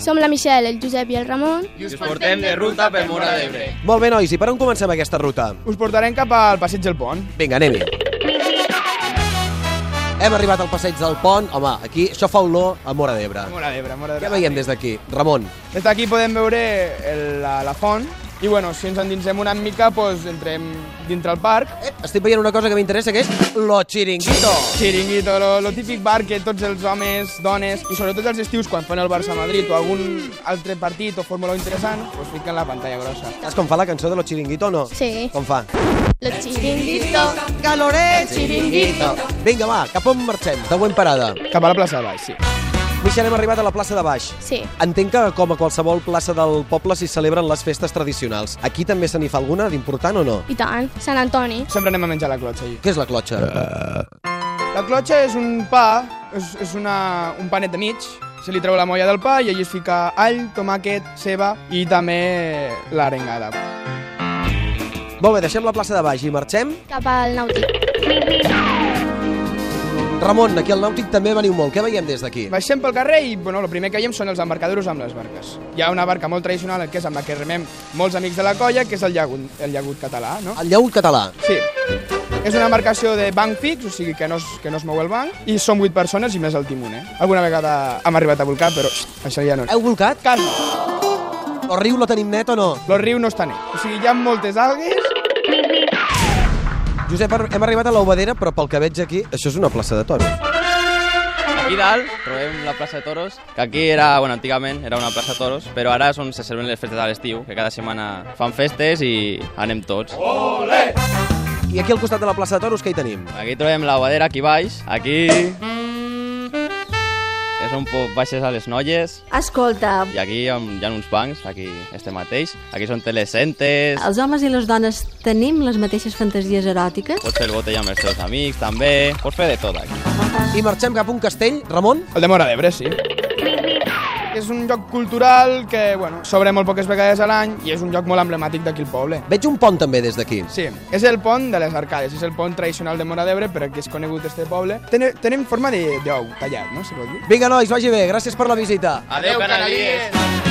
Som la Michelle, el Josep i el Ramon. I us portem de ruta per Mora d'Ebre. Molt bé, nois, i per on comencem aquesta ruta? Us portarem cap al passeig del pont. Vinga, anem-hi. Hem arribat al passeig del pont. Home, aquí això fa olor a Mora d'Ebre. Mora d'Ebre, Mora Què d'Ebre. veiem des d'aquí? Ramon, Des d'aquí podem veure el, la, la font i bueno, si ens endinsem una mica, doncs entrem dintre el parc. ep, Eh, estic veient una cosa que m'interessa, que és lo chiringuito. Chiringuito, lo, lo típic bar que tots els homes, dones i sobretot els estius quan fan el Barça a Madrid o algun altre partit o fórmula interessant, doncs fiquen la pantalla grossa. Saps com fa la cançó de lo chiringuito o no? Sí. Com fa? Lo chiringuito, Caloret! chiringuito. Vinga, va, cap on marxem? Següent parada. Cap a la plaça de baix, sí. Michel, hem arribat a la plaça de baix. Sí. Entenc que, com a qualsevol plaça del poble, s'hi celebren les festes tradicionals. Aquí també se n'hi fa alguna d'important o no? I tant, Sant Antoni. Sempre anem a menjar la clotxa allí. Què és la clotxa? La clotxa és un pa, és, és una, un panet de mig, se li treu la molla del pa i allí es fica all, tomàquet, ceba i també l'arengada. Molt bé, deixem la plaça de baix i marxem. Cap al nàutic. Ramon, aquí al Nàutic també veniu molt. Què veiem des d'aquí? Baixem pel carrer i, bueno, el primer que veiem són els embarcadors amb les barques. Hi ha una barca molt tradicional que és amb la que remem molts amics de la colla, que és el llagut, el llagut català, no? El llaut català. Sí. És una embarcació de banc fix, o sigui que no, es, que no es mou el banc, i som 8 persones i més el timoner. Alguna vegada hem arribat a volcar, però xxt, això ja no és. Heu volcat? Calma, El riu la tenim net o no? el riu no està net. O sigui, hi ha moltes algues, Josep, ar- hem arribat a l'Obedera, però pel que veig aquí, això és una plaça de toros. Aquí dalt trobem la plaça de toros, que aquí era, bueno, antigament era una plaça de toros, però ara és on se celebren les festes de l'estiu, que cada setmana fan festes i anem tots. I aquí al costat de la plaça de toros, què hi tenim? Aquí trobem la badera aquí baix, aquí... És on po- baixes a les noies, Escolta, i aquí hi ha, hi ha uns bancs, aquí este mateix. Aquí són telecentes, els homes i les dones tenim les mateixes fantasies eròtiques? pots fer el botella amb els teus amics, també... Pots fer de tot aquí. I marxem cap a un castell, Ramon? El de Mora d'Ebre, sí. És un lloc cultural que, bueno, s'obre molt poques vegades a l'any i és un lloc molt emblemàtic d'aquí el poble. Veig un pont també des d'aquí. Sí, és el pont de les arcades, és el pont tradicional de Mora d'Ebre, per a qui és conegut este poble. Tenen, tenen forma de- d'ou tallat, no? Se pot dir. Vinga, nois, vagi bé. Gràcies per la visita. Adeu, canalies!